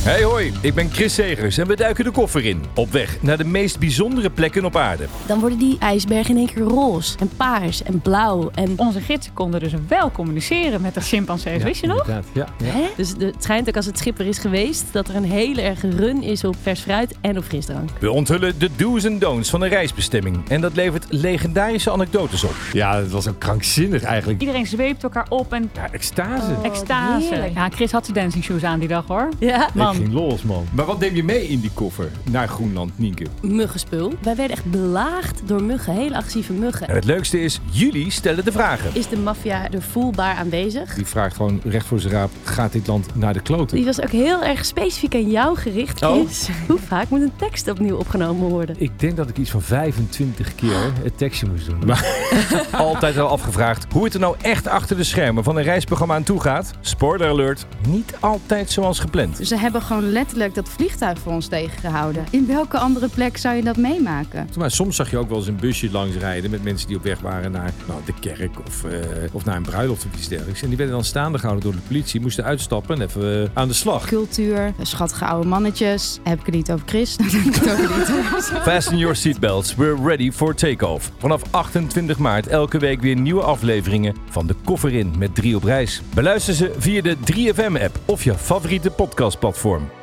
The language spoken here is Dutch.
Hey hoi, ik ben Chris Segers en we duiken de koffer in. Op weg naar de meest bijzondere plekken op aarde. Dan worden die ijsbergen in één keer roze en paars en blauw. En, Onze gidsen konden dus wel communiceren met de chimpansees, wist je nog? Ja, ja. hè? Dus de- het schijnt ook als het schipper is geweest dat er een hele erge run is op vers fruit en op frisdrank. We onthullen de do's en don'ts van een reisbestemming. En dat levert legendarische anekdotes op. ja, dat was ook krankzinnig eigenlijk. Iedereen zweept elkaar op en Ja, extase. Oh. Oh, extase. heerlijk. Ja, Chris had zijn dancing shoes aan die dag hoor. Ja. Ik ging los, man. Maar wat neem je mee in die koffer naar Groenland, Nienke? Muggenspul. Wij werden echt belaagd door muggen, hele agressieve En muggen. het leukste is, jullie stellen de vragen. Is de maffia er voelbaar aanwezig? Die vraagt gewoon recht voor zijn raap, gaat dit land naar de kloten? Die was ook heel erg specifiek aan jou gericht, Chris. Hoe vaak moet een tekst opnieuw opgenomen worden? Ik denk dat ik iets van 25 Ah. keer het tekstje moest doen. Altijd al afgevraagd hoe het er nou echt achter de schermen van een reisprogramma aan toe gaat. Spoiler alert, niet altijd zoals gepland. Ze hebben gewoon letterlijk dat vliegtuig voor ons tegengehouden. In welke andere plek zou je dat meemaken? Maar soms zag je ook wel eens een busje langs rijden met mensen die op weg waren naar nou, de kerk of, eh, of naar een bruiloft of iets dergelijks. En die werden dan staande gehouden door de politie, moesten uitstappen en even eh, aan de slag. Cultuur, schattige oude mannetjes. Heb ik het niet over Chris? Dan heb ik het over niet over zo. Fasten your seatbelts, we're ready for takeoff. Vanaf 28 maart elke week weer nieuwe afleveringen van De Koffer In met Drie op Reis. Beluister ze via de 3FM-app of je favoriete podcastplatform.